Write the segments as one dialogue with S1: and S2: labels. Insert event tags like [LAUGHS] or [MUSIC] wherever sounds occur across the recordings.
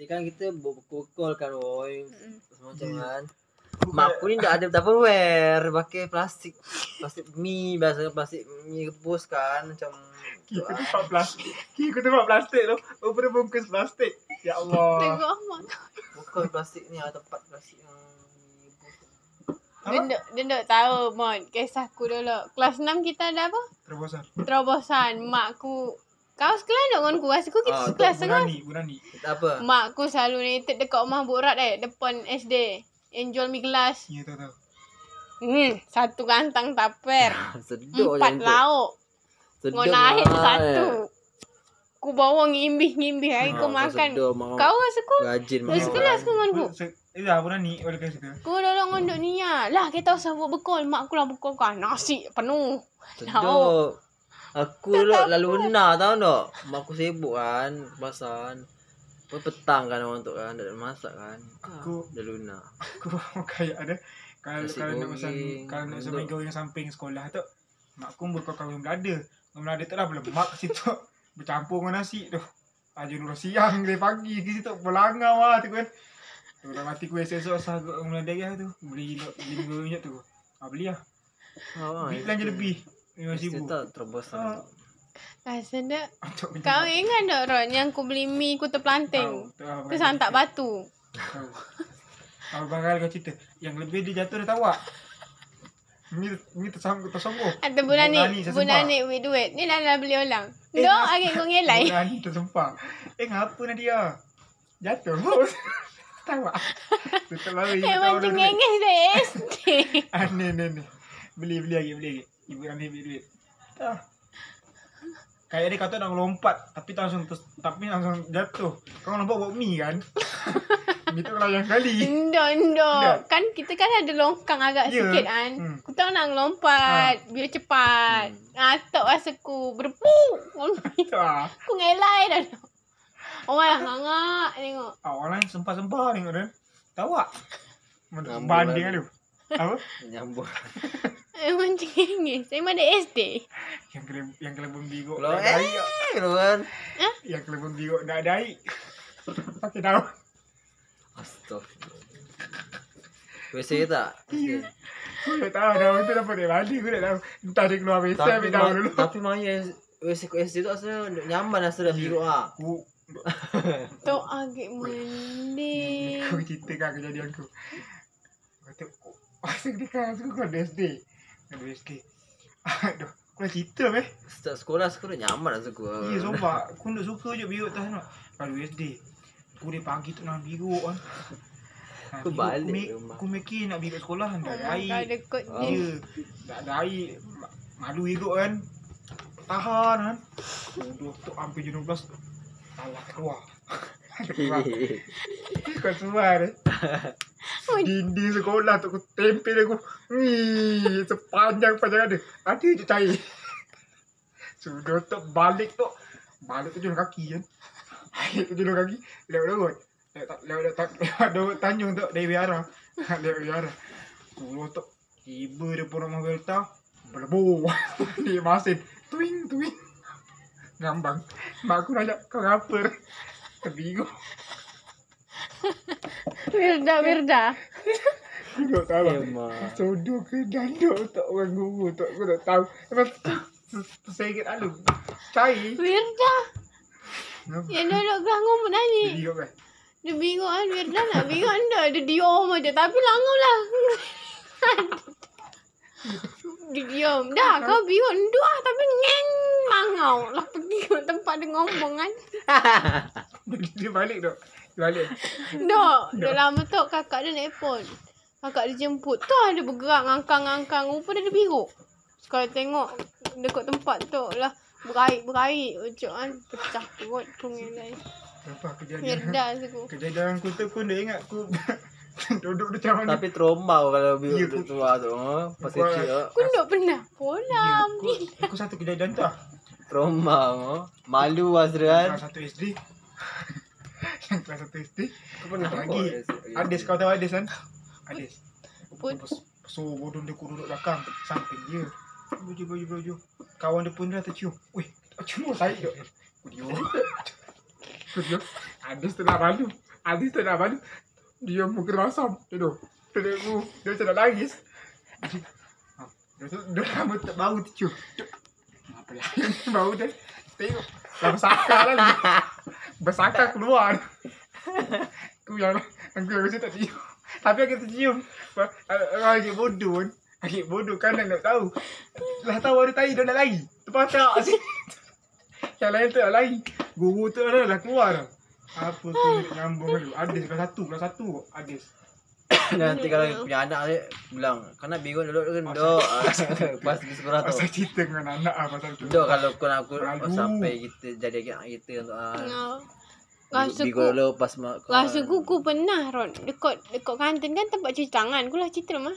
S1: Ya kan kita berkukul kan Roy.
S2: Mm-mm.
S1: Macam kan. Mak aku ni dah ada tupperware pakai plastik. Plastik mi biasa plastik mi rebus kan macam tu
S3: Kita
S1: ah.
S3: tempat plastik. Kita tempat plastik tu. Rupa dia bungkus plastik. Ya Allah.
S2: Tengok amat.
S1: Bukan plastik ni ada tempat plastik yang mi rebus.
S2: Dia
S3: Apa?
S2: tak- dia tak tahu Mon. Kisah aku dulu. Kelas 6 kita ada apa?
S3: Terobosan.
S2: Terobosan. Mak aku. Kau sekelas tak dengan aku? Rasa aku kita
S1: Ah,
S2: sekelas
S3: Bu
S2: sangat.
S3: Nani, Bu Nani.
S1: Tak apa.
S2: Mak aku selalu nated dekat rumah Burat eh. Depan SD. Yang jual mi gelas.
S3: Ya tahu tahu.
S2: Hmm, satu kantang taper.
S1: [LAUGHS] Sedap
S2: Empat lauk. Ngau naik satu. Ku bawa ngimbih-ngimbih hari Ah, kau makan. Kau lah, rasa aku
S1: rajin
S2: Dari Eh, sekelas ke dengan aku?
S3: Ya, Bu Nani oleh kerana [LAUGHS] kita.
S2: Aku dulu ngondok niat. Lah kita sambut bekal. Mak aku lah bekal kan. Nasi penuh.
S1: Sedap. Aku dulu lalu benar tau tak. Mak aku sibuk kan, pasan. Lepas petang kan orang tu kan, dah nak masak kan.
S3: Aku-
S1: dah luna.
S3: Aku [LAUGHS] kayak ada kalau
S1: Nasi
S3: kalau nak pesan
S1: goreng,
S3: kalau nak pesan
S1: rendang.
S3: mi goreng samping sekolah tu mak aku buka kawin belada. Kawin belada tu lah berlemak situ [LAUGHS] bercampur dengan nasi tu. Aja nur siang dari pagi ke situ berlangau lah tu kan. Tu dah mati ku esok sah kawin belada ya tu. Beli beli mi goreng je tu. Ah beli lah. Beli belanja lebih. Memang
S1: Mesti
S3: sibuk. Ah.
S1: tak terobosan.
S2: Rasa dia
S3: Untuk beli-
S2: Kau ingat tak Ron yang aku beli mi ku terpelanting?
S3: Tahu, tahu,
S2: Terus hantar batu.
S3: Tahu. Tahu bakal kau cerita. Yang lebih dia jatuh dia tawa. Ni ni tersanggup tersanggup.
S2: Ada bulan
S3: Bu Nani
S2: ni,
S3: saya
S2: bulan
S3: sembah.
S2: ni with duit. Ni lah beli orang.
S3: Eh,
S2: Dok, agak kau ngelai.
S3: Bulan ni tersumpah. Eh ngapa Nadia? Jatuh [LAUGHS] bos. Tawa.
S2: [LAUGHS]
S3: Betul lari.
S2: Eh,
S3: tahu
S2: macam eh,
S3: dah duit.
S2: ngenges dah SD.
S3: [LAUGHS] Aneh Ah, ni ni. Beli beli lagi beli lagi. Ibu kami beli duit. Dah. Kayak dia kata nak melompat tapi tak langsung ter- tapi langsung jatuh. Kau lompat buat mi kan? mi tu kalau yang kali.
S2: Ndok,
S3: Dah.
S2: ndok. Kan kita kan ada longkang agak
S3: Ya.
S2: sikit kan.
S3: Hmm. Ha.
S2: Aku tahu nak lompat. Biar cepat. Ah, tak rasa ku berpuk.
S3: Tu ah.
S2: Aku ngelai dah. Dok. Orang lah ngangak tengok.
S3: Ah, orang lain sempah-sempah tengok dia. Tawa.
S1: Ngambul
S3: Banding
S1: lagi.
S3: aduh. Apa? [LAUGHS]
S1: Nyambung.
S2: Eh, macam ngenges. Saya mana SD.
S3: yang kele yang kelebon bigok.
S1: Kalau
S3: dah ada air.
S1: eh, tu kan.
S3: Yang kelebon bigok dah ada air. Pakai daun.
S1: Astagfirullah. Biasa tak? Biasa.
S3: Aku tak tahu daun tu dapat dari mana aku tak tahu. Entah dia keluar biasa
S1: Tapi
S3: ambil daun
S1: ma-
S3: dulu.
S1: Tapi maya Biasa kat SD tu asalnya nyaman asal dah biru ah.
S3: Aku
S2: Tok agak mending.
S3: aku ceritakan kan kejadian aku. Kata oh, asal dia kan aku kau SD. Kau SD. Aduh, aku dah cerita meh.
S1: Start sekolah sekolah nyaman asal aku. ah.
S3: Ya sumpah Aku nak suka je biruk tas nak Kalau USD Aku dari pagi tu nak biruk kan Nak
S1: Aku
S3: biruk,
S1: balik
S3: aku, make-
S1: rumah.
S3: aku making nak biruk sekolah kan
S2: Oh
S3: Tak
S2: my
S3: ada
S2: god,
S3: air
S2: ada kot
S1: Ah.
S2: ni.
S3: Ya Tak ada air Ma- Malu biruk kan Tahan kan Bodoh tu hampir jenuh belas Alah keluar [LAUGHS]
S1: [LAUGHS]
S3: Keluar Kau keluar eh Dinding sekolah tu aku tempel aku. Ni sepanjang-panjang ada. Ada je cair. Sudah tu balik tu. Balik tu jalan kaki kan. Balik tu jalan kaki. Lewat lewat. Lewat tak lewat lewat tak [LAUGHS] lewat lewat tanjung tu dari [LAUGHS] biara. Lewat biara. Dulu tu tiba depan rumah Belta. Berlebu. [LAUGHS] Di masin. Tuing tuing. Ngambang. Mak aku nanya kau ngapa? Terbingung.
S2: Wirda, Wirda.
S3: Aku tak tahu.
S1: Eh, mak.
S3: Sodo lah. ke danduk tak orang guru tak aku tak tahu. Memang tersegit alu. Cai.
S2: Wirda. Yang duduk gelangau pun nani.
S3: Jadi kau kan. [LAUGHS]
S2: Dia bingung kan Wirda nak bingung dah. Dia diam aja. Tapi langau lah. [LAUGHS] Dia diam. Dah kau bingung. Dua tapi ngeng. Mangau. Lah pergi ke tempat dia ngomong kan.
S3: Dia balik tak? Dia balik.
S2: Dok. Dah lama tu kakak dia naik pun. Kakak dia jemput. Tu ada bergerak ngangkang-ngangkang. Rupa dia ada biru. Kalau tengok dekat tempat tu lah. Beraik-beraik macam kan. Pecah perut tu ngelai.
S3: Apa kejadian?
S2: Wirda aku.
S3: Kejadian aku tu aku dah ingat aku [LAUGHS] duduk macam mana.
S1: Tapi trauma kalau biru
S3: Ya,
S1: tu
S3: aku-
S1: tua tu. ah. Pas
S3: Aku-
S1: kecil ah.
S2: Aku tak pernah pola
S3: aku,
S2: ni.
S3: aku satu kejadian tu lah.
S1: trauma. ah. Malu kan? Azran.
S3: Kelas satu SD. Yang [LAUGHS] kelas satu SD.
S1: Kau pernah
S3: Lagi.
S1: ya.
S3: Ades kau tahu Ades kan? Ades.
S2: Put-
S3: So bodoh dia aku duduk belakang Samping dia Baju baju baju Kawan dia pun dah tercium Weh lah, tak cium orang saya tak Aku diam Aku diam Ada setengah malu Habis tak nak balik. Dia muka dia masam. Duduk. Duduk aku. Dia macam nak nangis. Dia tu dia lama tak bau tu cu. Apa lah [LAUGHS] bau dia. Tengok. Dah bersakar lah. [LAUGHS] dia. Bersakar keluar. Aku yang aku yang macam tak cium. [LAUGHS] Tapi aku tercium. Ba- Orang agak bodoh pun. Agak bodoh kan nak nak tahu. Lah tahu ada tai dia nak lari. Terpatak sih. [LAUGHS] Yang lain tak nak lari. Guru tu dah dah keluar dah. Apa tu nyambung dulu. Ada kelas satu, kelas satu kok. Ada.
S1: Kan, Nanti kalau punya anak saya bilang, kau nak bigot dulu kan dok. Ah, Pas di sekolah tu.
S3: Pasal cerita dengan anak lah pasal tu.
S1: Dok kalau kau nak aku
S3: Malu.
S1: sampai kita jadi anak kita untuk ah.
S2: Ya. Rasa
S1: Bigot
S2: ku
S1: dulu pas mak. kau-
S2: Rasa ku ku pernah Ron Dekat dekat kantin kan tempat cuci tangan Ku lah cerita lah mah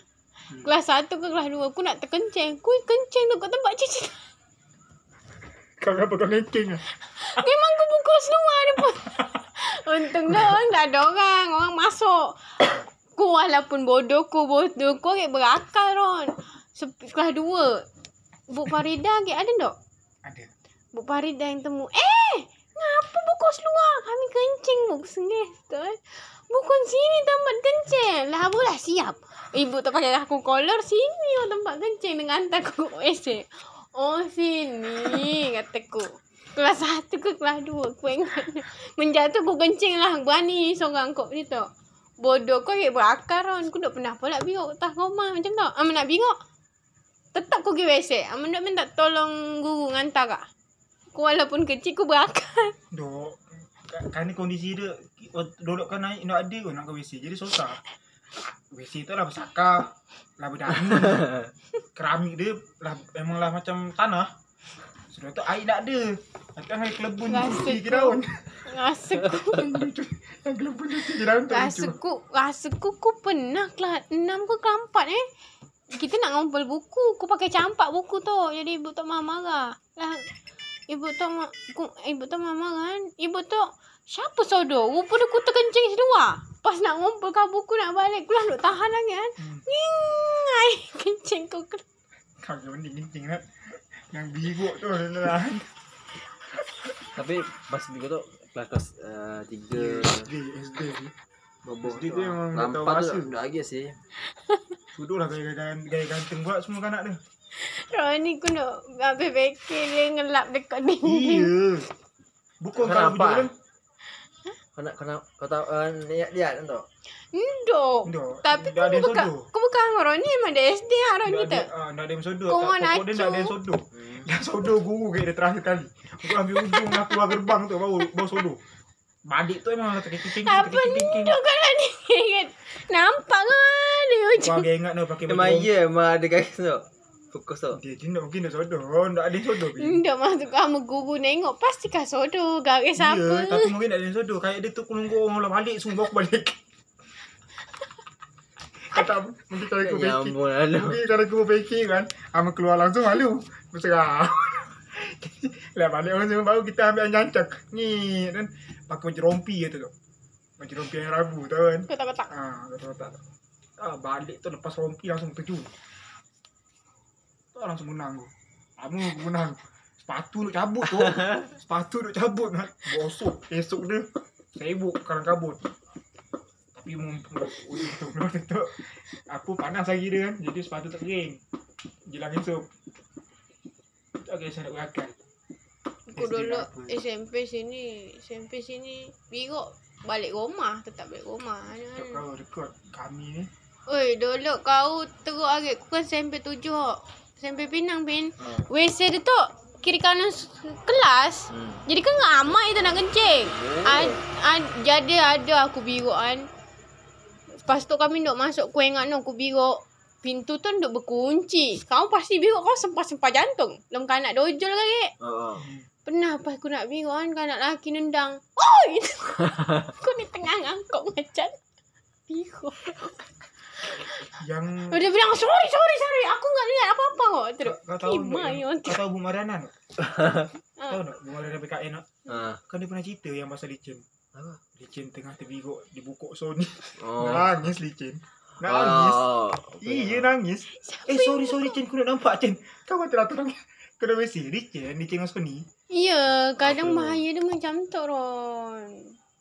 S2: Kelas satu ke kelas dua Ku nak terkencing Ku kencing dekat tempat cuci tangan
S3: Kau kenapa kau ngengking lah?
S2: Memang ku pukul seluar depan Untung dah orang tak ada orang Orang masuk Ku walaupun bodoh ku Bodoh ku agak berakal Ron Sep- Kelas dua Bu Farida agak ada tak?
S3: Ada.
S2: Bu Farida yang temu. Eh! Ngapa buku seluar? Kami kencing bu. Sengih tu eh. Bukan sini tempat kencing. Lah bu lah siap. Ibu tak pakai aku kolor. Sini oh, tempat kencing. Dengan hantar aku ke WC. Oh sini kataku. Kelas satu ke kelas dua. Aku ingat. Menjatuh aku kencing lah. Berani seorang kau ni tu. Bodoh kau kaya berakar kan. Aku tak pernah pula bingok. Tak kau mah macam tu. Amin nak bingok. Tetap aku pergi WC. Amin nak minta tolong guru ngantar kak. Aku walaupun kecil aku berakal.
S3: Dok. Kan ni kondisi dia Dodok kan naik Nak ada pun nak ke WC Jadi susah WC tu lah bersakar Lah berdangun Keramik dia lah, Memang lah macam tanah Sudah tu air tak ada Macam air kelebun
S2: Rasa
S3: cuci ke
S2: tu.
S3: daun [LAUGHS]
S2: Rasa aku
S3: Yang kelebun cuci ke daun tu
S2: rasa
S3: lucu
S2: aku rasa aku aku pernah kelas 6 ke kelas 4 eh. Kita nak ngumpul buku, aku pakai campak buku tu. Jadi ibu tok mama marah. Lah ibu tok ma, ku, ibu tok mama marah kan. Ibu tok siapa sodor? Rupanya aku terkencing seluar. Pas nak ngumpul kau buku nak balik, aku lah nak tahan lagi kan.
S3: Hmm.
S2: Nying, air [LAUGHS] kencing kau keluar.
S3: Kau yang mending kencing kan Yang bigok tu lah
S1: Tapi pas bigot tu kelas kelas ah, tiga
S3: SD SD
S1: bobo.
S3: Dia tu Ya. memang tak tahu
S1: Lampak
S3: rasa.
S1: tu dah lagi sih.
S3: Sudah lah gaya, gaya, gaya ganteng pula semua
S2: [LAUGHS]
S3: kanak dia
S2: Roni aku nak habis bekir dia ngelap dekat dinding.
S3: Iya Bukan
S1: Kenapa?
S3: kalau video dia
S1: Kau nak kau nak kau tahu ah, lihat lihat kan tu.
S2: Ndok.
S3: Dok,
S2: Tapi kau
S3: dah ada yang
S2: bukan
S3: sodor.
S2: kau bukan hang Roni memang dari SD hang Roni
S3: Dah ada,
S2: tak.
S3: ah, dah ada yang sodor.
S2: Kau
S3: Kau
S2: orang
S3: nak Dia dah ada yang
S2: acu.
S3: [LAUGHS] sodor.
S1: Hmm.
S3: Dah sodor guru kat dia terakhir kali. Aku ambil ujung lah keluar gerbang tu baru baru sodor. Badik tu emang tak keking-keking.
S2: Apa ni tu kan Roni ingat. Nampak kan dia
S3: Kau
S2: macam
S3: agak ingat dah pakai
S1: Memang
S3: baju.
S1: ya memang ada guys tu. Fokus tu.
S3: Dia dia nak mungkin dah sodor. Tak ada yang sodor. Pi.
S2: Ndok masuk kamu guru nengok pasti kau sodo garis
S3: Ya, tapi
S2: apa.
S3: mungkin tak ada yang sodor. Kayak dia tu aku nunggu orang lah balik semua aku
S2: [LAUGHS]
S3: balik. Kata mungkin kalau aku baking.
S1: Nyambung lalu.
S3: Mungkin kalau aku baking kan, ama keluar langsung malu. Berserah. [LAUGHS] lah balik orang semua baru kita ambil yang jancak. Ni dan pakai baju rompi je tu tu. Baju rompi yang Rabu tu kan.
S2: Kau tak kotak.
S3: Ah, betul tak. Ah, balik tu lepas rompi langsung terjun. Tu langsung menang tu. Kamu menang. Sepatu nak cabut tu. Sepatu nak cabut kan. Bosok esok dia. Sibuk karang kabut. Tapi mumpung untuk keluar tu. [LAUGHS] Aku panas lagi dia kan. Jadi sepatu tak kering. Jelang esok. Tak kisah nak berakal.
S2: Aku
S3: SD
S2: dulu
S3: apa?
S2: SMP sini, SMP sini bingok balik rumah tetap balik rumah. kan?
S3: Tak kau rekod kami ni.
S2: Oi, dulu kau teruk agak aku kan SMP tujuh. hok. SMP Pinang pin.
S1: Ha.
S2: WC dia tu kiri kanan s- kelas.
S1: Hmm.
S2: Jadi kan ramai tu nak kencing.
S1: Oh.
S2: Ad, ad, jadi ada aku biruk kan. Lepas tu kami duk masuk kuih ingat no, aku biruk. Pintu tu duk berkunci. Kau pasti biruk kau sempah-sempah jantung. Lem kanak dojol lagi.
S1: Ha. ha.
S2: Pernah pas aku nak biruk kan kanak laki nendang. Oi! [LAUGHS] aku ni tengah ngangkuk macam. Biruk.
S3: Yang
S2: Dia bilang sorry sorry sorry. Aku nggak lihat apa-apa kok. Terus.
S3: Kau tahu
S2: Lima
S3: tak
S2: ni
S3: yang-
S2: Eh, orang
S3: Kau tahu Bu Mariana tak?
S2: [LAUGHS] Ah.
S3: Tahu tak Bu Mariana PKN tak?
S1: Ha.
S3: Kan dia pernah cerita yang pasal licin.
S1: Apa?
S3: Licin tengah terbigok dibukuk Sony.
S1: Oh.
S3: [LAUGHS] Nangis licin. Nangis.
S1: Oh.
S3: Iya nangis. Eh sorry sorry Cin aku nak nampak Cin. Kau kata lah tolong. Kau dah WC. Licin, licin dengan Sony.
S2: Ya, kadang
S1: Apa?
S2: bahaya dia macam tu Ron.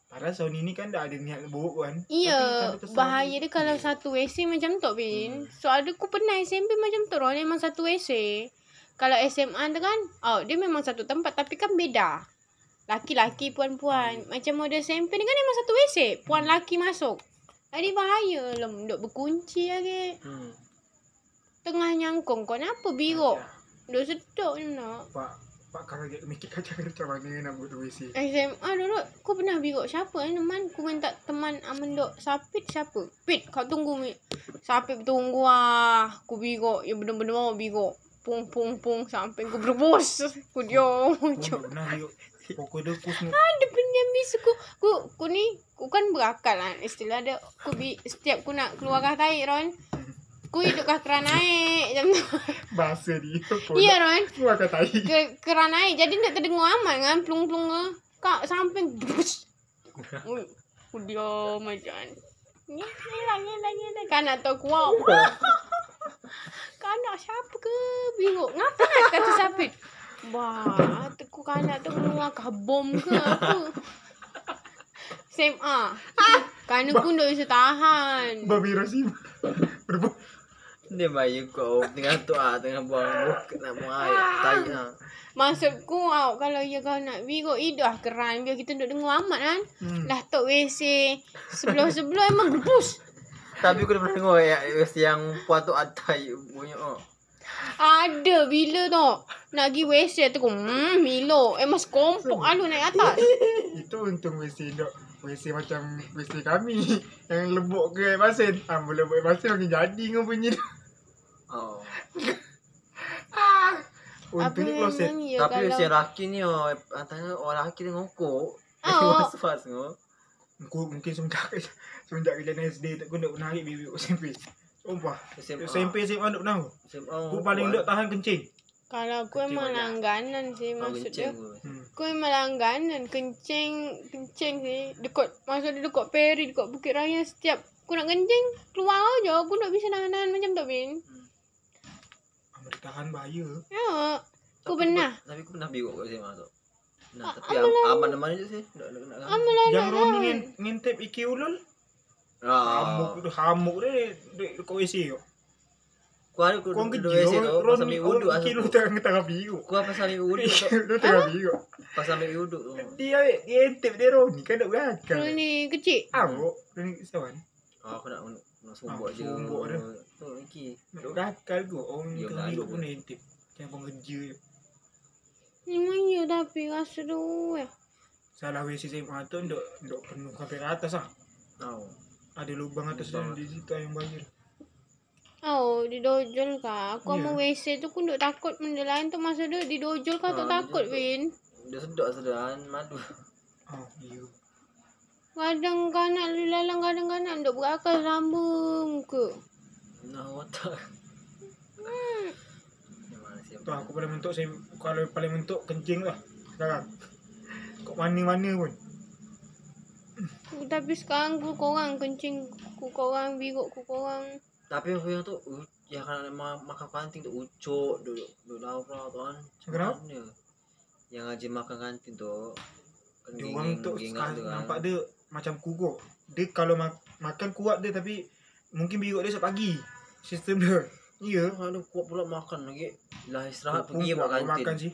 S3: Padahal Sony ni kan dah ada niat buruk kan.
S2: Ya,
S3: Tapi kalau kesal-
S2: bahaya dia kalau satu esei macam tu Bin. Soal dia aku pernah SMP macam tu. Orang memang satu esei. Kalau SMA tu kan, oh, dia memang satu tempat tapi kan beda. Laki-laki, puan-puan. Macam model SMP ni kan memang satu esei. Puan laki masuk. Jadi bahaya lah. Duk berkunci lagi.
S1: Hmm.
S2: Tengah nyangkung. Kau nak apa biruk? Duk sedok je nak.
S3: Pak, Ya, Pak kalau dia mikir kacau macam mana nak buat WC.
S2: SMA dulu aku ah, pernah biruk siapa eh teman aku minta teman aman dok sapit siapa pit kau tunggu mi sapit tunggu ah aku biruk ya bener-bener mau biruk pung pung pung sampai aku [LAUGHS] berbos aku diam
S3: Kau
S2: macam "Ah,
S3: nak benar yuk. Pokok dia aku semua.
S2: ada pendiam bisu aku aku aku ni aku kan berakal lah istilah dia aku bi setiap aku nak keluar kah tahi Ron aku hidup kah keran naik macam tu
S3: Bahasa dia. Kau
S2: iya
S3: nak-
S2: Ron
S3: Aku akan tahi.
S2: ke, keran air jadi tak terdengar aman kan plung-plung ke kak sampai bus ui aku diam macam ni ni lah ni lah ni lah kan nak tahu kuat kan nak siapa ke bingung ngapa nak kata siapa Wah, aku kanak tu keluar kah bom ke apa? Same ah. Kan aku tak bisa tahan.
S3: Babi Rosim.
S1: [LAUGHS]
S3: Berbuk.
S1: Dia bayu kau tengah tu ah tengah buang muka nak buang air. Tahi ah.
S2: Maksudku au kalau ya kau nak bigo idah keran biar kita duduk dengar amat kan.
S3: Hmm.
S2: Lah tok WC Sebelum-sebelum emang gebus
S1: Tapi aku dah pernah tengok ya, yang puan tu atai bunyi oh.
S2: Ada bila tau Nak pergi WC tu aku Hmm Milo Emang sekompok alu naik atas
S3: Itu untung WC dok. WC macam WC kami. [LAUGHS] Yang lebok ke air masin. Ah, boleh buat air masin makin jadi kau punya.
S1: Oh.
S3: Untung ni closet.
S2: ya
S1: Tapi
S2: kalau
S1: si laki ni oh antara orang laki dia ngokok.
S2: Oh.
S1: [LAUGHS] Was-was ngok.
S3: Aku mungkin semenjak [LAUGHS] semenjak kejadian SD tak aku nak menarik bibi SMP. Sumpah.
S1: oh,
S3: SMP SMA tak pernah. Aku paling tak tahan kencing.
S2: Kalau aku
S1: Kencing
S2: emang
S1: banyak.
S2: langganan sih Maksud dia
S1: maksudnya.
S3: Hmm.
S2: Aku memang langganan Kencing Kencing sih Dekat Maksud dia dekat peri Dekat Bukit Raya Setiap Aku nak kencing Keluar je Aku tak bisa nahan-nahan macam tu Bin
S3: Ambil Ah, tahan bahaya.
S2: Ya Aku pernah
S1: Tapi aku pernah biru kat SMA tu. Nah,
S2: Ah,
S1: tapi am, aman dan mana je sih? Tak nak nak. nak-
S2: Amalan
S3: Yang
S2: nak
S3: Roni
S2: nahan
S3: ngin, ngintip iki E ulul.
S1: Ah.
S3: Hamuk tu hamuk dia dek dekat WC yo.
S1: Ku ada ku
S3: Kau
S1: duduk
S3: keji.
S1: WC tu pas
S3: Roni
S1: ambil wuduk
S3: iki
S1: asal.
S3: lu tengah tengah biru.
S1: Ku pas
S3: [LAUGHS]
S1: ambil wuduk tu,
S3: Lu tengah biru.
S1: pas ambil wuduk tu.
S3: Dia dia ngintip dia Roni kan dok belakang.
S2: Roni kecil
S3: Amuk Roni siapa?
S1: Ah, aku nak nak sumbuk
S3: Ah,
S1: je.
S3: sumbuk dia.
S1: Tu iki.
S3: Dok belakang tu orang
S1: Ya,
S3: tengah biru
S1: Melayu.
S3: pun ngintip. Yang pengeja.
S2: Memang ya tapi rasa tu eh.
S3: Salah WC SMA tu dok dok penuh sampai ke atas ah.
S1: Oh.
S3: Ada lubang atas dan di situ yang bahaya.
S2: Oh, didojol kah? Aku
S3: Ya.
S2: yeah. WC tu aku duk takut benda lain tu masa dia didojol kah tak
S1: Ah,
S2: takut,
S1: didojol.
S2: Win.
S1: Dia sedap sedan madu.
S3: Oh, iya.
S2: Kadang kanak lu lalang kadang kanak duk berakal lama muka.
S1: Nah, watak.
S2: Hmm.
S1: Memang
S3: Tu
S1: siapa?
S3: aku paling mentok saya kalau paling mentok kencing lah sekarang. Kat mana-mana pun.
S2: Tapi sekarang aku korang kencing aku korang biruk aku korang.
S1: Tapi aku yang tu u- yang kan ma- makan kantin tu ucuk duduk duduk lapar tu kan. Macam
S3: Kenapa?
S1: mana? Yang aje makan kantin tu kan
S3: Dia orang tu
S1: gingat
S3: sekarang nampak dia macam kuguk. Dia kalau ma- makan kuat dia tapi mungkin biruk dia sepagi. Sistem dia. Ya.
S1: Kan ada kuat pula makan lagi. Lah istirahat
S3: Aku
S1: pergi
S3: pun
S1: buat
S3: aku makan
S1: kantin.
S3: sih.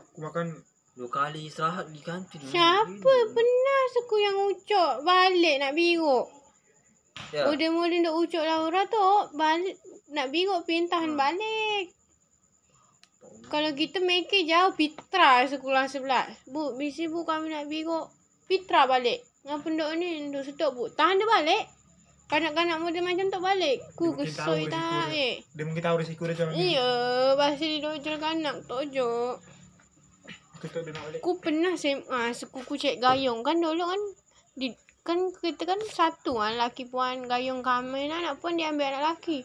S3: Aku makan
S1: Dua kali istirahat di kantin.
S2: Siapa penas aku yang ucok balik nak biruk.
S1: Ya.
S2: Yeah. Moden-moden duk ucok Laura tu balik nak biruk
S1: Hmm.
S2: pintahan balik. Kalau kita meke jauh Pitra sekolah sebelah. Bu, bisi bu kami nak bigo. Pitra balik. Dengan pendok ni duduk sedap bu. Tahan dia balik. Kanak-kanak muda macam tu balik. Ku
S3: Dia mungkin tahu
S2: kesoi
S3: risiko
S2: tak
S3: dia.
S2: eh.
S3: dia mungkin tahu risiko dia macam mana.
S2: Iya, pasti didojol kanak tojok.
S3: Aku tak dia nak balik.
S2: Ku pernah SMA sekuku Cik Gayung kan dulu kan di kan kita kan satu kan laki puan gayung kami nak anak puan dia ambil anak laki.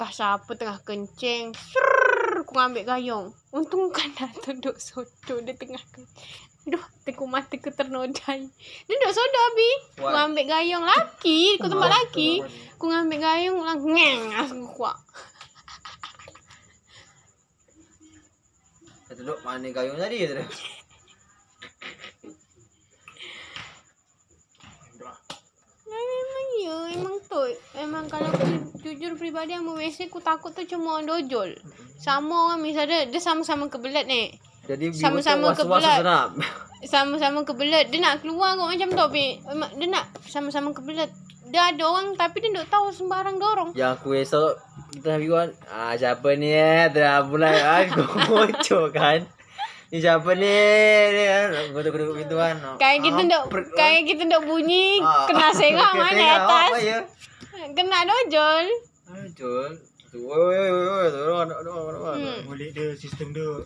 S2: Entah siapa tengah kencing. Serrrr, aku ambil gayung. Untung kan nak duduk soto dia tengah kencing. Duh, teku mata ku ternodai. Dia duduk soto abi. Aku
S1: Why?
S2: ambil gayung laki, aku tempat
S3: Maaf,
S2: laki.
S3: aku
S2: Aku
S3: makan.
S2: ambil gayung lang ngeng aku kuat.
S1: Kata duduk mana ya, gayung tadi kata dia.
S2: ya, memang kalau aku jujur peribadi yang biasa aku takut tu cuma orang dojol. Sama orang misalnya dia sama-sama kebelat ni.
S1: Jadi Bibo
S2: Sama-sama
S1: tu was-was
S2: kebelat.
S1: seram.
S2: Sama-sama kebelat. Dia nak keluar kot macam tu. Bi. Emak- Dia nak sama-sama kebelat. Dia ada orang tapi dia tak tahu sembarang dia orang.
S1: Yang aku esok kita Bibo kan, ah siapa ni eh? Dah mulai ah [LAUGHS] kocok kan. Ni siapa ni? Ni kan. Aku tu duduk gitu kan.
S2: Kayak kita dok kayak kita dok bunyi
S1: Ah,
S3: Ah. [LAUGHS]
S2: kena serang mana atas.
S1: ya?
S2: Kena dojol.
S1: Ah, Jol. Tu oi oi oi oi tu orang nak nak nak.
S2: Hmm.
S3: Boleh dia sistem dia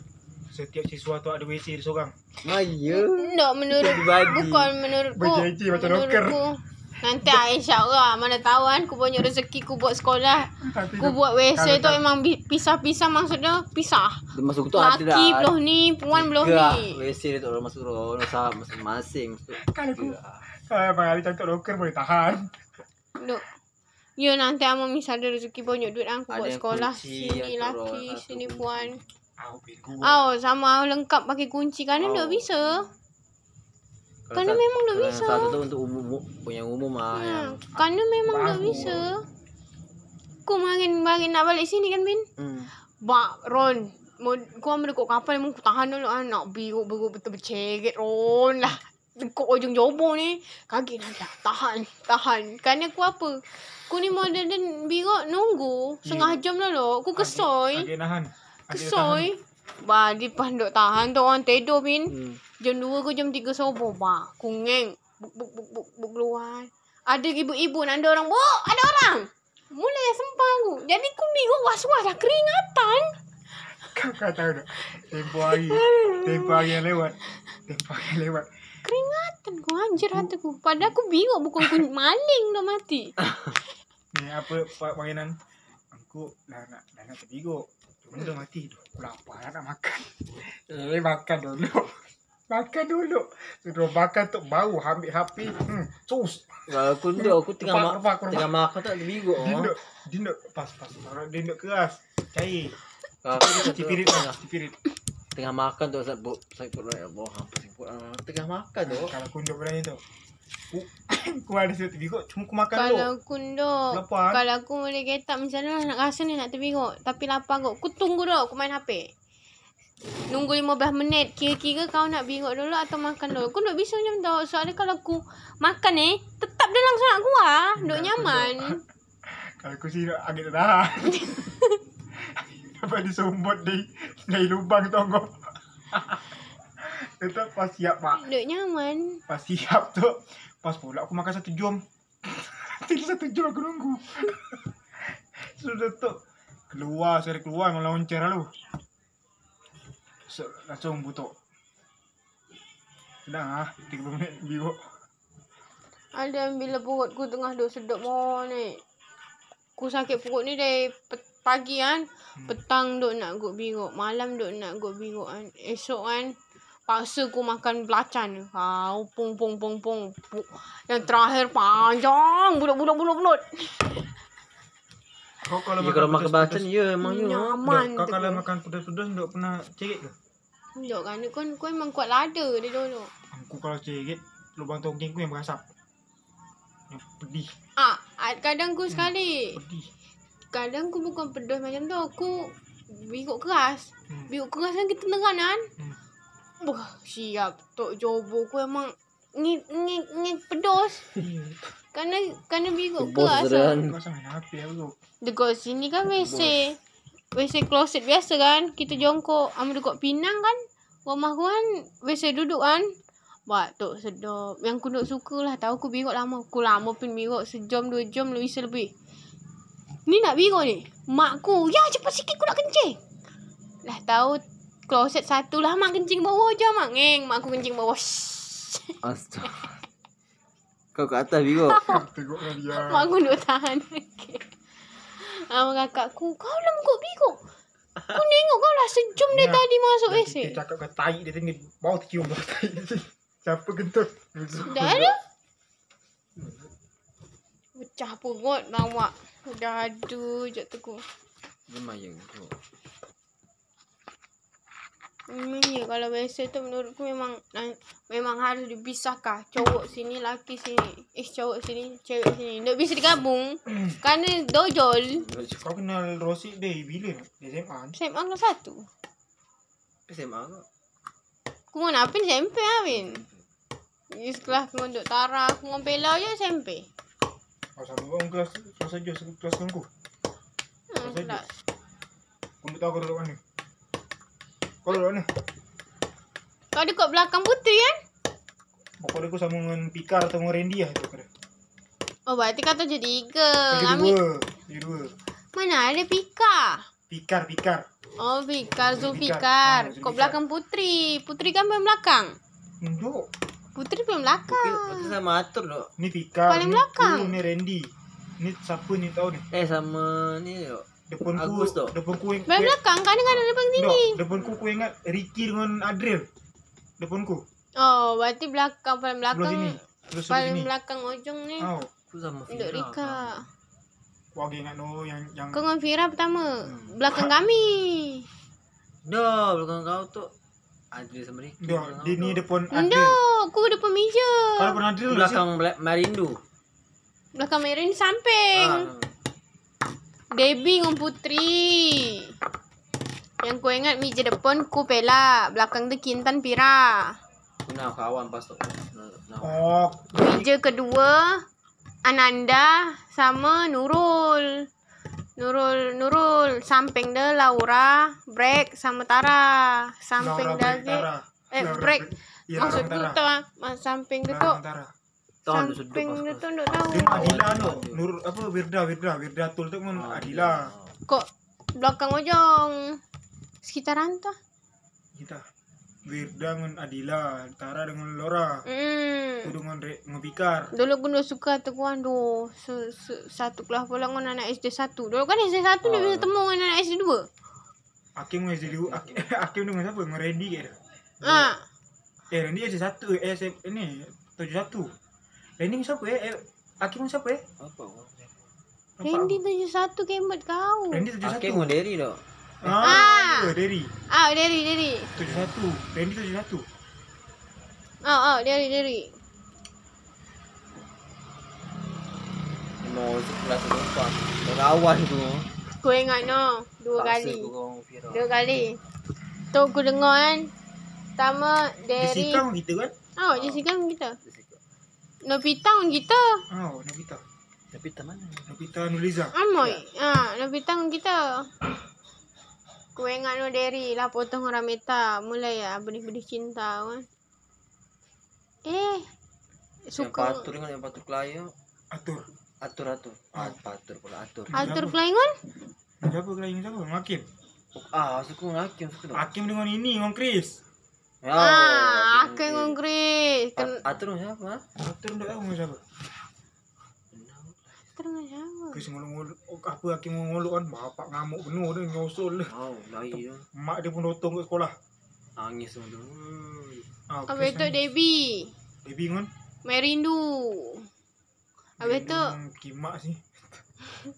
S3: setiap siswa tu ada WC dia seorang.
S1: Ma ya.
S2: Dok menurut
S1: Dibagi.
S2: bukan menurutku.
S3: Berjanji macam
S2: menurutku, Nanti Aisyah lah mana tahu kan ku punya rezeki ku buat sekolah.
S3: Tapi
S2: Ku
S3: dia-
S2: buat WC tu
S3: kalau-
S2: memang bi- pisah-pisah maksudnya pisah.
S1: Dia masuk tu hati dah.
S2: Laki belum ni, puan belum
S1: lah. Tiga.
S2: ni.
S1: WC dia tak orang masuk orang sama masing-masing. masuk.
S3: Kalau aku-
S1: Tiga.
S3: Ah, Abang Ali cantik loker boleh tahan.
S2: Duk. Ya nanti amang misalnya rezeki banyak duit aku
S1: Ada
S2: buat
S1: yang
S2: sekolah
S1: kunci,
S2: sini
S1: yang
S2: laki,
S1: turun,
S2: sini
S1: satu.
S2: puan.
S3: Aku pinggul.
S2: Oh, sama aku lengkap pakai kunci kan
S1: Oh.
S2: oh. tak bisa.
S1: Kalau
S2: Kerana
S1: satu-
S2: memang tak
S1: kalau
S2: bisa.
S1: Satu tu untuk umum punya umum ah yang.
S2: Ha, kerana memang tak
S3: Bagus.
S2: bisa. Ku makin-makin nak balik sini kan Bin?
S1: Hmm.
S2: Bak, Ron. Mau, kau ambil dekat kapal memang ku tahan dulu ah nak biru-biru betul berceret Ron lah. Dekat ujung jobong ni. Kaki dah tak tahan, tahan. Kerana aku apa? Ku ni model dan biru nunggu. Setengah jam dah lo. Ku kesoi.
S3: Adik nahan. Adik tahan.
S2: Kesoi. Bah, dia panduk tahan tu orang tidur Bin.
S1: Hmm.
S2: Jam 2 ke jam 3 subuh bah. Kungeng. Buk buk buk buk, buk keluar. Ada ibu-ibu nak ada orang. Buk, ada orang. Mulai sempang aku. Jadi aku bingung was-was lah keringatan.
S3: [LAUGHS] Kau kau tahu tak? Tempoh hari. Tempoh hari yang lewat. Tempoh hari yang lewat.
S2: Keringatan aku anjir
S3: Hmm.
S2: hati aku. Padahal aku bingung bukan aku maling dah mati.
S3: Ni apa pa- mainan? Aku dah nak dah nak terbigo. Cuma dah mati. Duh, Aku lapar dah nak makan. Eh makan dulu. Makan dulu. Sudah makan tu baru ambil HP. Hmm, sus.
S1: Kalau aku tu aku tengah
S3: Lepas,
S1: mak
S3: lepas, aku
S1: tengah makan tak terbiguk ah.
S3: Dinduk. Dinduk. Pas pas. Orang Dinduk keras. Cair.
S1: Kalau aku tu
S3: Cuci pirit.
S1: tengah
S3: Cuci pirit.
S1: tengah makan tu saya bu saya pun ya Allah apa sih pun ah, tengah makan tu.
S3: Kalau aku duduk berani tu. Ku- [COUGHS] Ku ada sebab terbigo. Cuma ku makan dulu.
S2: Kalau aku ndok.
S3: Lapar. eh?
S2: Kalau aku boleh getak misalnya lah nak rasa ni nak terbingok. Tapi lapar kot. Aku tunggu dulu aku main HP. Nunggu 15 minit. Kira-kira kau nak bingok dulu atau makan dulu. Aku tak bisa macam tu. Soalnya kalau aku makan eh. Tetap dia langsung nak keluar. Duk nyaman.
S3: Kalau aku sini agak tak tahan. Dapat disumbut di dari lubang tonggok. Tetap pas siap mak.
S2: Duk nyaman.
S3: Pas siap tu. Pas pula aku makan satu jom. [LAUGHS] Tadi satu jom aku nunggu. Sudah tu. Keluar, saya keluar memang loncer lah lu. So, langsung butuh. Sedang ah, 30 minit biru.
S2: Ada yang bila perut ku tengah duk sedap mau ni. Ku sakit perut ni dari pe- pagi kan.
S3: Hmm.
S2: Petang duk nak guk bingok. Malam duk nak guk bingok kan. Esok kan. Paksa ku makan belacan. Kau pung pung pung pung. Pu- Yang terakhir panjang. Bulut bulut bulut bulut.
S3: Kau kalau
S1: Ya kalau makan
S3: pedas-pedas-
S1: bacaan ya memang ya.
S2: Nyaman
S3: Dok, Kau
S2: tu.
S3: kalau makan pedas-pedas dok pernah cerit ke?
S2: Dok kan ni kan kau memang kuat lada dia dulu.
S3: Aku kalau cerit lubang tongking ku yang berasap. Yang pedih,
S2: Ah, ah, kadang ku sekali.
S3: pedih.
S2: Kadang ku bukan pedas macam tu. Aku bingok keras.
S3: Hmm.
S2: Biuk keras kan kita nerang kan.
S3: Hmm.
S2: Wah, siap. Tok Jobo ku emang ni ni ni pedos. Karena karena biuk
S1: Bos
S2: keras. lah.
S1: seran.
S3: Kau sama main HP aku tu.
S2: Dekat sini kan WC. WC closet biasa kan. Kita jongkok. Ambil dekat Pinang kan. Rumah aku kan WC duduk kan. Buat tok sedap. Yang ku duk suka lah. Tahu ku birok lama. Ku lama pun birok sejam dua jam lebih selebih. Ni nak birok ni. Mak ku. Ya cepat sikit ku nak kencing. Lah tahu closet satu lah. Mak kencing bawah je mak. Ngeng. Mak aku kencing bawah. Shhh.
S1: Astaga. Kau kat atas biguk.
S3: Kau tegukkan lah dia.
S2: Mak aku duk tahan. [LAUGHS] Okay. Abang kakak ku. Kau lengkuk birok. Kau tengok kau lah sejam dia
S3: Ya.
S2: tadi masuk
S3: Dan
S2: WC.
S3: Kita cakap kau tai dia tinggi. Bau tercium bau tai. Siapa kentut?
S2: Dah ada. Pecah perut lawak. Dah ada je tu ku.
S1: Memang ya.
S2: Ni Memangnya ya, kalau biasa tu menurutku memang nan- memang harus dipisahkan. Cowok sini, laki sini. Eh, cowok sini, cewek sini. Tak bisa digabung. Kerana dojol.
S3: Kau kenal Rosyid dari bila? Dari SMA ni?
S2: Saya angkat satu.
S1: SMA ke?
S2: Aku ngon apa ni SMP lah, Min. Di sekolah aku ngon Dok Tara, aku ngon Bella je SMP.
S3: Kau sama orang kelas kelas saja kelas dengan aku.
S2: Hmm,
S3: Pasal
S2: pula.
S3: Kau tak tahu kau duduk mana? Kau duduk mana?
S2: Kau dekat belakang putri kan?
S3: Bapak dia aku sama dengan Pikar atau dengan Randy lah tu kata.
S2: Oh, berarti kau tu jadi tiga.
S3: Dia
S2: Amin.
S3: dua. Dia dua.
S2: Mana ada Pika?
S3: Pikar, Pikar.
S2: Oh, Fikar,
S3: Zulfikar. Ah,
S2: Zulfikar. Kau
S3: Zulfikar.
S2: belakang Putri. Putri kan paling belakang.
S3: Duduk.
S2: Putri paling
S1: Mungkin
S2: belakang.
S1: mungkin sama atur dok.
S3: Ni Fikar.
S2: Paling
S3: ni
S2: belakang.
S3: Ku, ni Randy. Ni siapa ni tahu ni?
S1: Eh sama ni dok.
S3: Depan ku.
S1: Agus tu.
S3: Depan ku yang...
S2: Paling belakang kan dengan ada paling
S3: Dok,
S2: tinggi.
S3: depan ku ku ingat Ricky dengan Adriel. Depan ku.
S2: Oh, berarti belakang paling
S3: Sebelah
S2: belakang.
S3: sini. Terus sebelah
S2: Paling
S3: sini. Ah,
S2: belakang ujung ni.
S3: Au.
S1: Aku sama
S2: Duk Rika.
S3: Wah, dia ingat no yang yang
S2: Kau dengan Fira pertama.
S3: Hmm.
S2: Belakang kami.
S1: Dok belakang kau tu. Adri sama Ricky. belakang
S3: Dok, dia
S1: kau
S3: ni
S1: tu.
S3: depan Adriel.
S2: Ndok, aku depan meja.
S3: Kau depan Adriel tak sih?
S1: belakang Bla- Marindu.
S2: Belakang Merin samping.
S1: Ah.
S2: Debbie dengan Putri. Yang kau ingat meja depan ku Pela. Belakang tu Kintan Pira.
S1: Aku nak kawan pas tu. Nak- nak-
S3: Oh,
S2: Meja kedua Ananda sama Nurul. Nurul Nurul samping dia Laura, break sama Tara. Samping dia lagi. Eh, break.
S3: Ya,
S2: Maksud tu tu ah, mas- samping dia tu.
S3: Tara.
S1: Tahan duduk
S2: Samping
S1: pas-
S2: dia
S1: pas.
S2: tu duk tahu.
S3: Dia dengan Adila tu. Nur apa Wirda Wirda Wirda Tul tu dengan
S1: Ah,
S3: Adila.
S2: Kok belakang ujung. Sekitaran tu. ah.
S3: Kita. Wirda dengan Adila, Tara dengan Laura. Aku
S2: Hmm.
S3: dengan Re, dengan Fikar.
S2: Dulu aku duk suka tu aku aduh se, se, satu kelas pula dengan anak SD 1. Dulu kan SD 1 dia
S1: Ah.
S2: bisa temu dengan anak SD 2.
S3: Hakim dengan SDU, Hakim [LAUGHS] Hakim dengan siapa? Dengan Randy ke dia?
S2: Ah.
S3: Eh, Randy ada satu, eh, SM, ini, tujuh satu. Randy dengan siapa eh? eh? Hakim dengan siapa eh?
S1: Apa? kau?
S3: Nampak
S2: Randy
S3: aku.
S2: tujuh satu kemat kau.
S3: Randy tujuh
S1: Hakim
S3: satu.
S1: mau diri dok.
S2: Ah.
S3: Ah, Derry.
S2: Ah, Derry, Derry.
S3: Tujuh satu. Randy tujuh satu.
S2: Ah, ah, Derry, Derry.
S1: Dia Mau sebelah serupa. Kawan tu.
S2: Aku ingat no, dua
S1: Paksa
S2: kali.
S1: aku kau viral.
S2: Dua kali. Tu aku dengar kan. Pertama, Derry.
S3: Jessica pun kita kan?
S2: Oh, Jessica pun kita. Nobita pun kita.
S3: Oh, Nobita.
S1: Tapi teman.
S3: Nobita Nuliza.
S2: Amoy. Ah, Nobita pun kita. Aku ingat no Derry lah potong orang meta. Mulai ya benih-benih cinta kan. Eh.
S1: Yang
S2: Suka.
S1: patur dengan yang patur kelayu.
S3: Atur.
S1: Atur atur. Ah, patur pula atur.
S2: Atur Pelaingon?
S3: Siapa kena ingat siapa? Dengan Hakim.
S1: Ah, suku dengan Hakim suku dok.
S3: Hakim dengan ini, dengan Chris.
S1: Ya.
S2: Ah, aku ingat Grace. Ken-
S1: Atur dengan siapa? ah?
S3: Atur tak tahu dengan siapa.
S2: Terus apa?
S3: Chris ngolok-ngolok. Oh, Apa Hakim ngolok kan? Bapak ngamuk penuh dia, nyosol dia.
S1: Oh, lain tu.
S3: Mak dia pun rotong kat sekolah.
S1: Nangis semua tu. Hmm.
S3: Ah,
S2: Habis tu Debbie.
S3: Debbie kan?
S2: Merindu. Habis tu
S3: Kimak sih.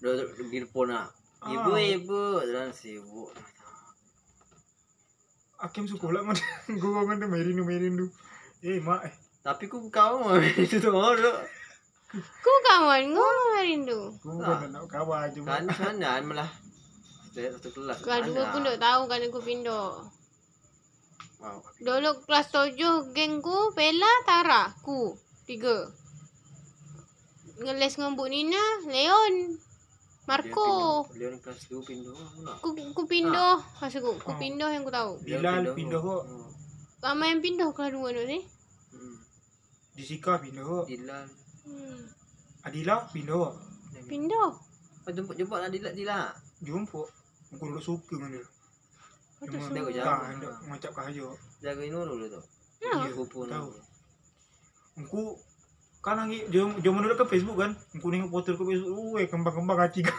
S1: Dia dia pergi telefon lah. Ibu, ibu. Dan sibuk.
S3: Hakim suka pula [LAUGHS] dengan dia. Gua dengan dia merindu-merindu. Eh, mak eh.
S1: Tapi ku [LAUGHS] kawan itu tu dok.
S2: Ku kawan Ku merindu
S3: Gua bukan nak kawan je.
S1: Kan
S3: mak.
S1: sana malah. Saya satu kelas.
S2: Kelas dua
S1: Sana.
S2: pun tak tahu kan Kerana ku pindah
S1: Wow.
S2: Dulu kelas tujuh Geng ku Bella Tara Ku Tiga Ngeles dengan Bu Nina Leon Marco
S1: Dia orang kelas 2 pindah aku nak.
S2: Ku, ku pindah Maksud ku Ku
S3: Ah.
S2: pindah yang ku tahu
S1: Dia
S3: Bilal
S1: orang
S3: pindah kot.
S1: Oh.
S2: Ramai yang pindah kelas dua tu ni
S1: Hmm.
S3: Jessica pindah kok.
S1: Bilal.
S2: hmm.
S3: Adila pindah kok.
S2: Pindah
S1: Kau jemput jemput lah Dila Dila.
S3: Jumpa. Aku dulu suka dengan dia.
S2: Kau tak
S3: Cuma
S1: suka?
S3: dia kan dia macam kahaya.
S1: Jaga Nurul tu.
S3: Ya,
S1: Aku pun.
S3: tahu. Engkau kan lagi dia dia menurut ke Facebook kan. Engkau tengok portal ke Facebook. Oi, kembang-kembang hati kau.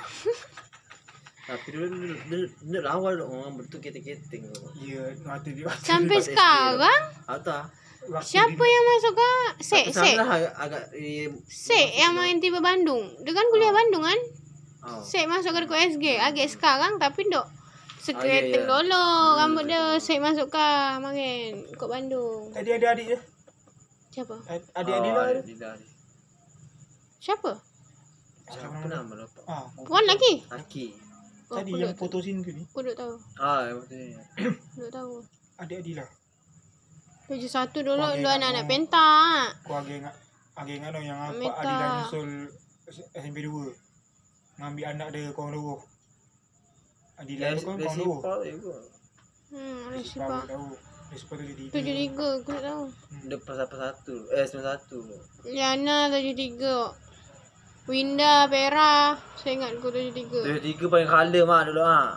S3: [LAUGHS]
S1: Tapi dulu dulu dulu- dulu lawan dulu orang betul keting-keting tu.
S3: Ya, hati dia.
S2: [LAUGHS] Sampai
S1: Tempat SD tu.
S3: lah.
S2: sekarang
S1: Atau
S3: Waktu
S2: Siapa
S3: dia-
S2: yang masuk ke Sek Sek
S3: lah.
S1: Sana agak agak eh,
S2: Sek yang main tiba
S3: Ah.
S2: Bandung. Dia kan kuliah Bandung kan?
S1: oh.
S2: Sek masuk ke dekat SG. Agak sekarang tapi dok
S1: Ah, ya, ya.
S2: Sekereta lolok
S1: Hmm.
S2: rambut dia. Saya masuk ke makan kat Bandung.
S3: Tadi ada adik dia.
S2: Siapa?
S3: Ad- Adik Adila.
S1: Oh,
S3: ada.
S1: adik Adila ni.
S2: Siapa?
S1: Siapa nama dia?
S3: Ah,
S2: Puan lelaki?
S1: Aki.
S2: Oh,
S3: Tadi
S2: aku
S3: yang
S2: duk-
S3: foto sini tu ni.
S2: Aku duk tahu.
S1: Ah, yang betul ni.
S2: Aku duk tahu.
S3: Adik Adila.
S2: Tujuh satu dulu
S3: Wah,
S2: lu
S3: geng
S2: anak-anak
S3: aku.
S2: pentak.
S3: Aku agak ingat agak ingat no yang apa
S2: Meta.
S3: Adila nyusul S- SMP 2. Ngambil anak dia kawan dua. Adila
S1: Dia
S3: tu kan
S1: dia
S3: kawan dua.
S1: sipol juga.
S2: Hmm, ada
S3: Tahu
S2: sebab.
S3: tahu. Dia sepatu jadi
S2: Tujuh tiga, aku duk tahu.
S1: Dia pasal satu. Eh, sembilan satu.
S2: Liana tujuh tiga. Winda, Vera. Saya ingat aku tujuh tiga.
S1: Tujuh tiga paling kalem ah dulu ah.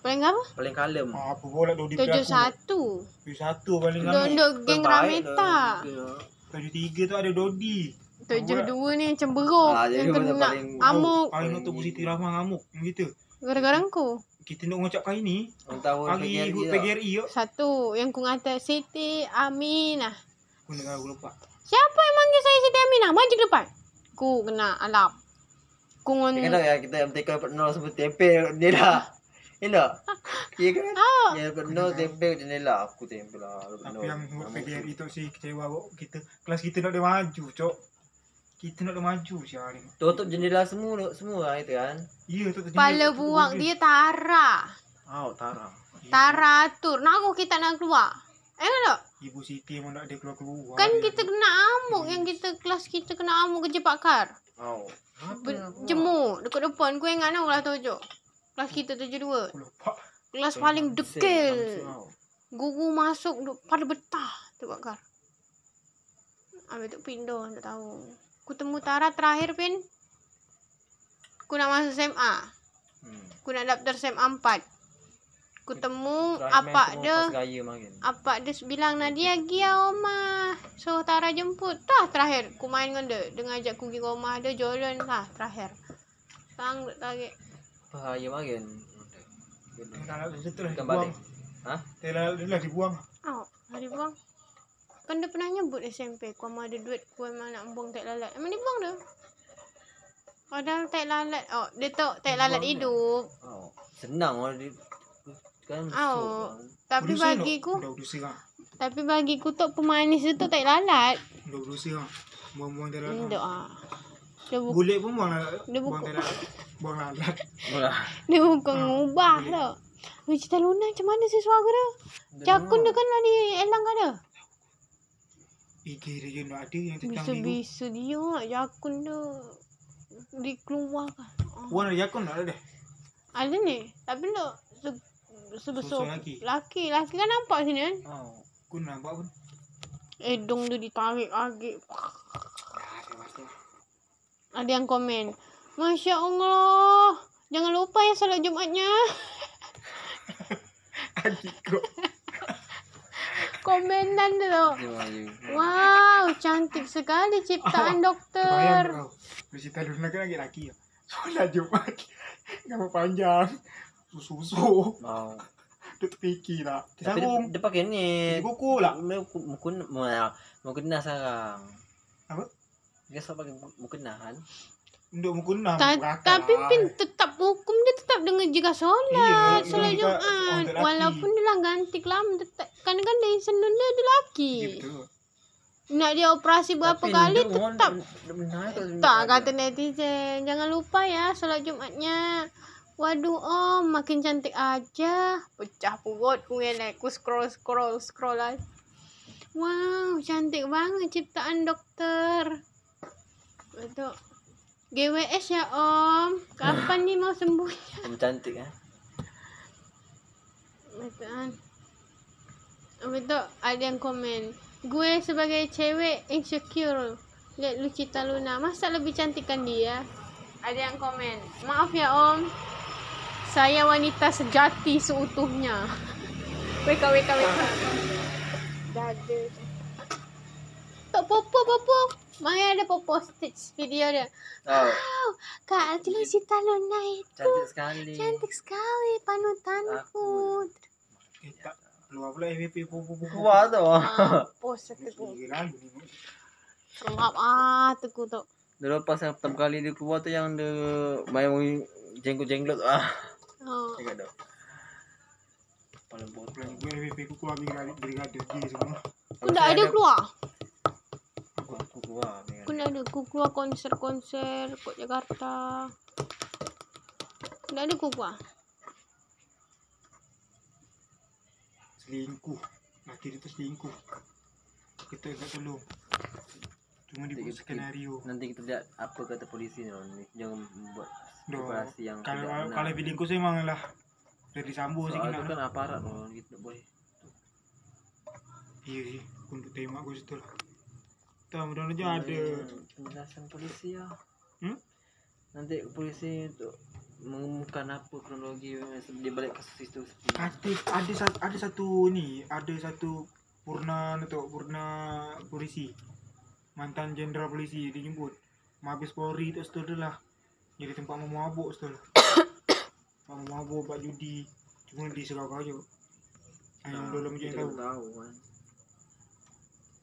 S2: Paling apa?
S1: Paling kalem.
S3: Ah, apa pula Dodi
S2: Tujuh
S3: peraku.
S2: satu.
S3: Tujuh satu paling lama.
S2: Dondok geng
S1: Terbaik lah. dah
S2: Rameta.
S1: tujuh tiga.
S3: Tujuh tiga tu ada Dodi.
S2: Tujuh dua ni macam beruk.
S1: Ah, jadi
S2: yang
S1: macam
S2: kena
S1: paling-
S2: amuk.
S3: Aku ingat tu Bu Siti Rahmah ngamuk dengan kita.
S2: Gara-gara kau.
S3: Kita nak ngucap kali ni.
S1: Orang tahu
S3: Pagi
S1: PKRI
S3: ikut
S1: tak?
S3: PGRI yo.
S2: Satu, yang ku ngata Siti Aminah.
S3: Aku nak aku lupa.
S2: Siapa yang manggil saya Siti Aminah? Maju ke depan. Ku kena alap. Ku ngon...
S1: Dia kan tahu ya kita MTK dapat nol sebut tempel dia dah. [LAUGHS] Ya tak? Ya kan?
S2: [LAUGHS] Oh,
S1: Dia dapat nol tempel jendela. Aku tempel lah. dapat
S3: Tapi
S1: nol.
S3: yang buat
S1: Nama
S3: PGRI E tu si kecewa awak kita. Kelas kita nak dia maju, cok. Kita nak dia maju siapa ni.
S1: Tutup jendela semua tu- semua lah itu kan.
S3: Ya tu tu.
S2: Kepala buang dia Tara.
S1: Au tara.
S2: Tara atur. Nak aku kita nak keluar. Eh kan tak?
S3: Ibu Siti memang nak dia keluar-keluar.
S2: Kan
S3: dia.
S2: kita kena amuk yang kita kelas kita kena amuk kerja pakar.
S1: Au.
S2: Ber- jemur dekat depan. Ku ingat nak kelas tujuh. Kelas kita tujuh dua.
S3: Aku lupa.
S2: Kelas paling dekil.
S1: Au.
S2: Guru masuk duk pada betah tu bakar. Habis tu pindah tak tahu. Ku temu Tara terakhir pin. Ku nak masuk SMA.
S1: Hmm.
S2: Ku nak daftar SMA 4. Ku temu
S1: Terakhir main
S2: apak
S1: semua
S2: dia.
S1: Pas gaya makin.
S2: Apak dia bilang Nadia pergi lah rumah. So Tara jemput. Tah terakhir ku main dengan dia. Dia ngajak ku pergi rumah dia jalan lah terakhir. Sang duk tarik.
S1: Bahaya makin.
S3: Dia nak dia tu lah
S1: Bukan
S3: dibuang.
S1: balik. Ha?
S3: Dia nak dia lah dibuang.
S2: Oh, hari buang. Kan dia pernah nyebut SMP Kau memang ada duit Kau memang nak buang tak lalat Emang dia buang dia Padahal tak lalat Oh dia tahu tak
S1: Buang
S2: lalat
S1: dia.
S2: hidup
S1: Au. Oh, Senang orang dia kan
S2: Au.
S1: sup.
S2: Tapi
S3: Berdosa
S2: bagi
S3: tak?
S2: ku
S3: Dah berdosa kan.
S2: Tapi bagi ku tu pemanis dia tu tak lalat
S3: Dah berdosa kan. Buang-buang dia lah.
S2: Tidak ah Dia bukan
S3: Boleh pun buang lah.
S2: Dia
S3: Buang
S2: buku-
S3: dia lah. Buang lah. [LAUGHS]
S1: Mula.
S2: Dia bukan
S3: Ah,
S2: ngubah
S3: boleh.
S2: tau Weh cerita Luna macam mana sih suara dia Cakun dia kan lah di elang kan dia
S3: IG dia je nak ada yang tentang ni.
S2: Bisa-bisa dia nak Cakun dia Dikeluarkan Ah.
S3: Buang ada jakun tak ada.
S2: Ada ni. Tapi lu se, sebesar
S3: Sebesar laki.
S2: laki. Laki kan nampak sini kan.
S3: Oh, aku nak buat pun.
S2: Edung tu ditarik lagi.
S3: Dah, saya lah. pasti.
S2: Ada yang komen. Masya Allah. Jangan lupa ya salat Jumatnya.
S3: [LAUGHS] Adik kau.
S2: Komenan tu. tau.
S1: Dia maju.
S2: Wow, cantik sekali ciptaan dokter.
S3: Oh, Bayang kau. Bercerita Luna kan lagi laki ya. [LAUGHS] Solat Jumat. Kamu panjang. Susu-susu.
S1: Au.
S3: Dia terfikir lah.
S1: Oh.
S3: Dia
S1: Tapi dia,
S3: sarung.
S1: dia pakai ni.
S3: Dia kuku lah.
S1: Dia mukun mukena sekarang.
S3: Apa?
S1: Dia selalu pakai mu- mukena kan.
S3: Untuk muka enam.
S2: Ta-
S3: berakal
S2: tapi
S3: lah.
S2: pin tetap hukum dia tetap dengan jika
S3: Iya,
S2: solat
S3: orang
S2: solat
S3: juga-
S2: Jumat
S3: orang tak laki.
S2: walaupun dia lah ganti kelam tetap kan kan dari senun dia dia laki
S3: Ya, betul.
S2: nak dia operasi berapa
S1: Tapi
S2: kali
S1: dia mohon-
S2: tetap
S1: dia benar tu.
S2: Tak kata netizen Jangan lupa ya Solat Jumatnya Waduh om Makin cantik aja Pecah perut Ku ngelek Ku scroll scroll scroll lah Wow Cantik banget Ciptaan dokter Betul GWS ya om Kapan nih mau sembuh
S1: Macam cantik eh.
S2: Betul kan Betul ada yang komen Gue sebagai cewek insecure Lihat Lucita Luna Masa lebih cantikan dia Ada yang komen Maaf ya om Saya wanita sejati seutuhnya [LAUGHS] Weka weka weka Dada Tak popo popo Mari ada popo stitch video dia
S1: Oh,
S2: Wow Kak Lucita Luna itu
S1: cantik sekali.
S2: Cantik sekali panutanku.
S3: Eh, tak. Keluar pula MVP. Keluar.
S1: Kuat tu.
S2: Ah, [LAUGHS] Mampus aku tu. Gelap lah ah tu aku tu.
S1: Dulu pas yang pertama kali dia keluar tu yang dia main jenggot-jenggot tu ah.
S2: Oh,
S1: Ingat tu. Kepala
S3: Kalau
S1: botak.
S3: gue MVP ku keluar brigade brigade G semua.
S2: Aku tak ada keluar.
S1: Aku aku keluar. dengan-
S2: Aku nak ada aku keluar konser-konser kat Jakarta. Aku nak ada aku keluar.
S3: Selingkuh. Laki dia tu selingkuh. Kita tak tolong. Cuma
S1: Kita-
S3: dibuat
S1: kita-
S3: skenario.
S1: Nanti kita lihat apa kata polisi ni. orang ni. Jangan membuat
S3: Doh.
S1: operasi yang
S3: Kalau
S1: tidak benar.
S3: kalau selingkuh saya memang lah. Dari sambung saya
S1: Soal
S3: kena.
S1: tu
S3: Kan.
S1: kan aparat orang kita tak boleh.
S3: Iya sih. Aku untuk tembak aku situ lah. Tak mudah-mudahan je ada.
S1: Hmm, Penjelasan polisi lah.
S3: Hmm?
S1: Nanti polisi untuk mengumumkan apa kronologi di balik kasus itu.
S3: Ada ada satu, ada satu ni, ada satu purna tu purna polisi. Mantan jenderal polisi dia jemput. Mabes Polri tu situ dia lah. Jadi tempat memabuk situ lah. [COUGHS] tempat memabuk buat judi. Cuma di Surau Kayu.
S1: Ah,
S3: Yang
S1: lah.
S3: dulu macam tahu.
S1: tahu kan.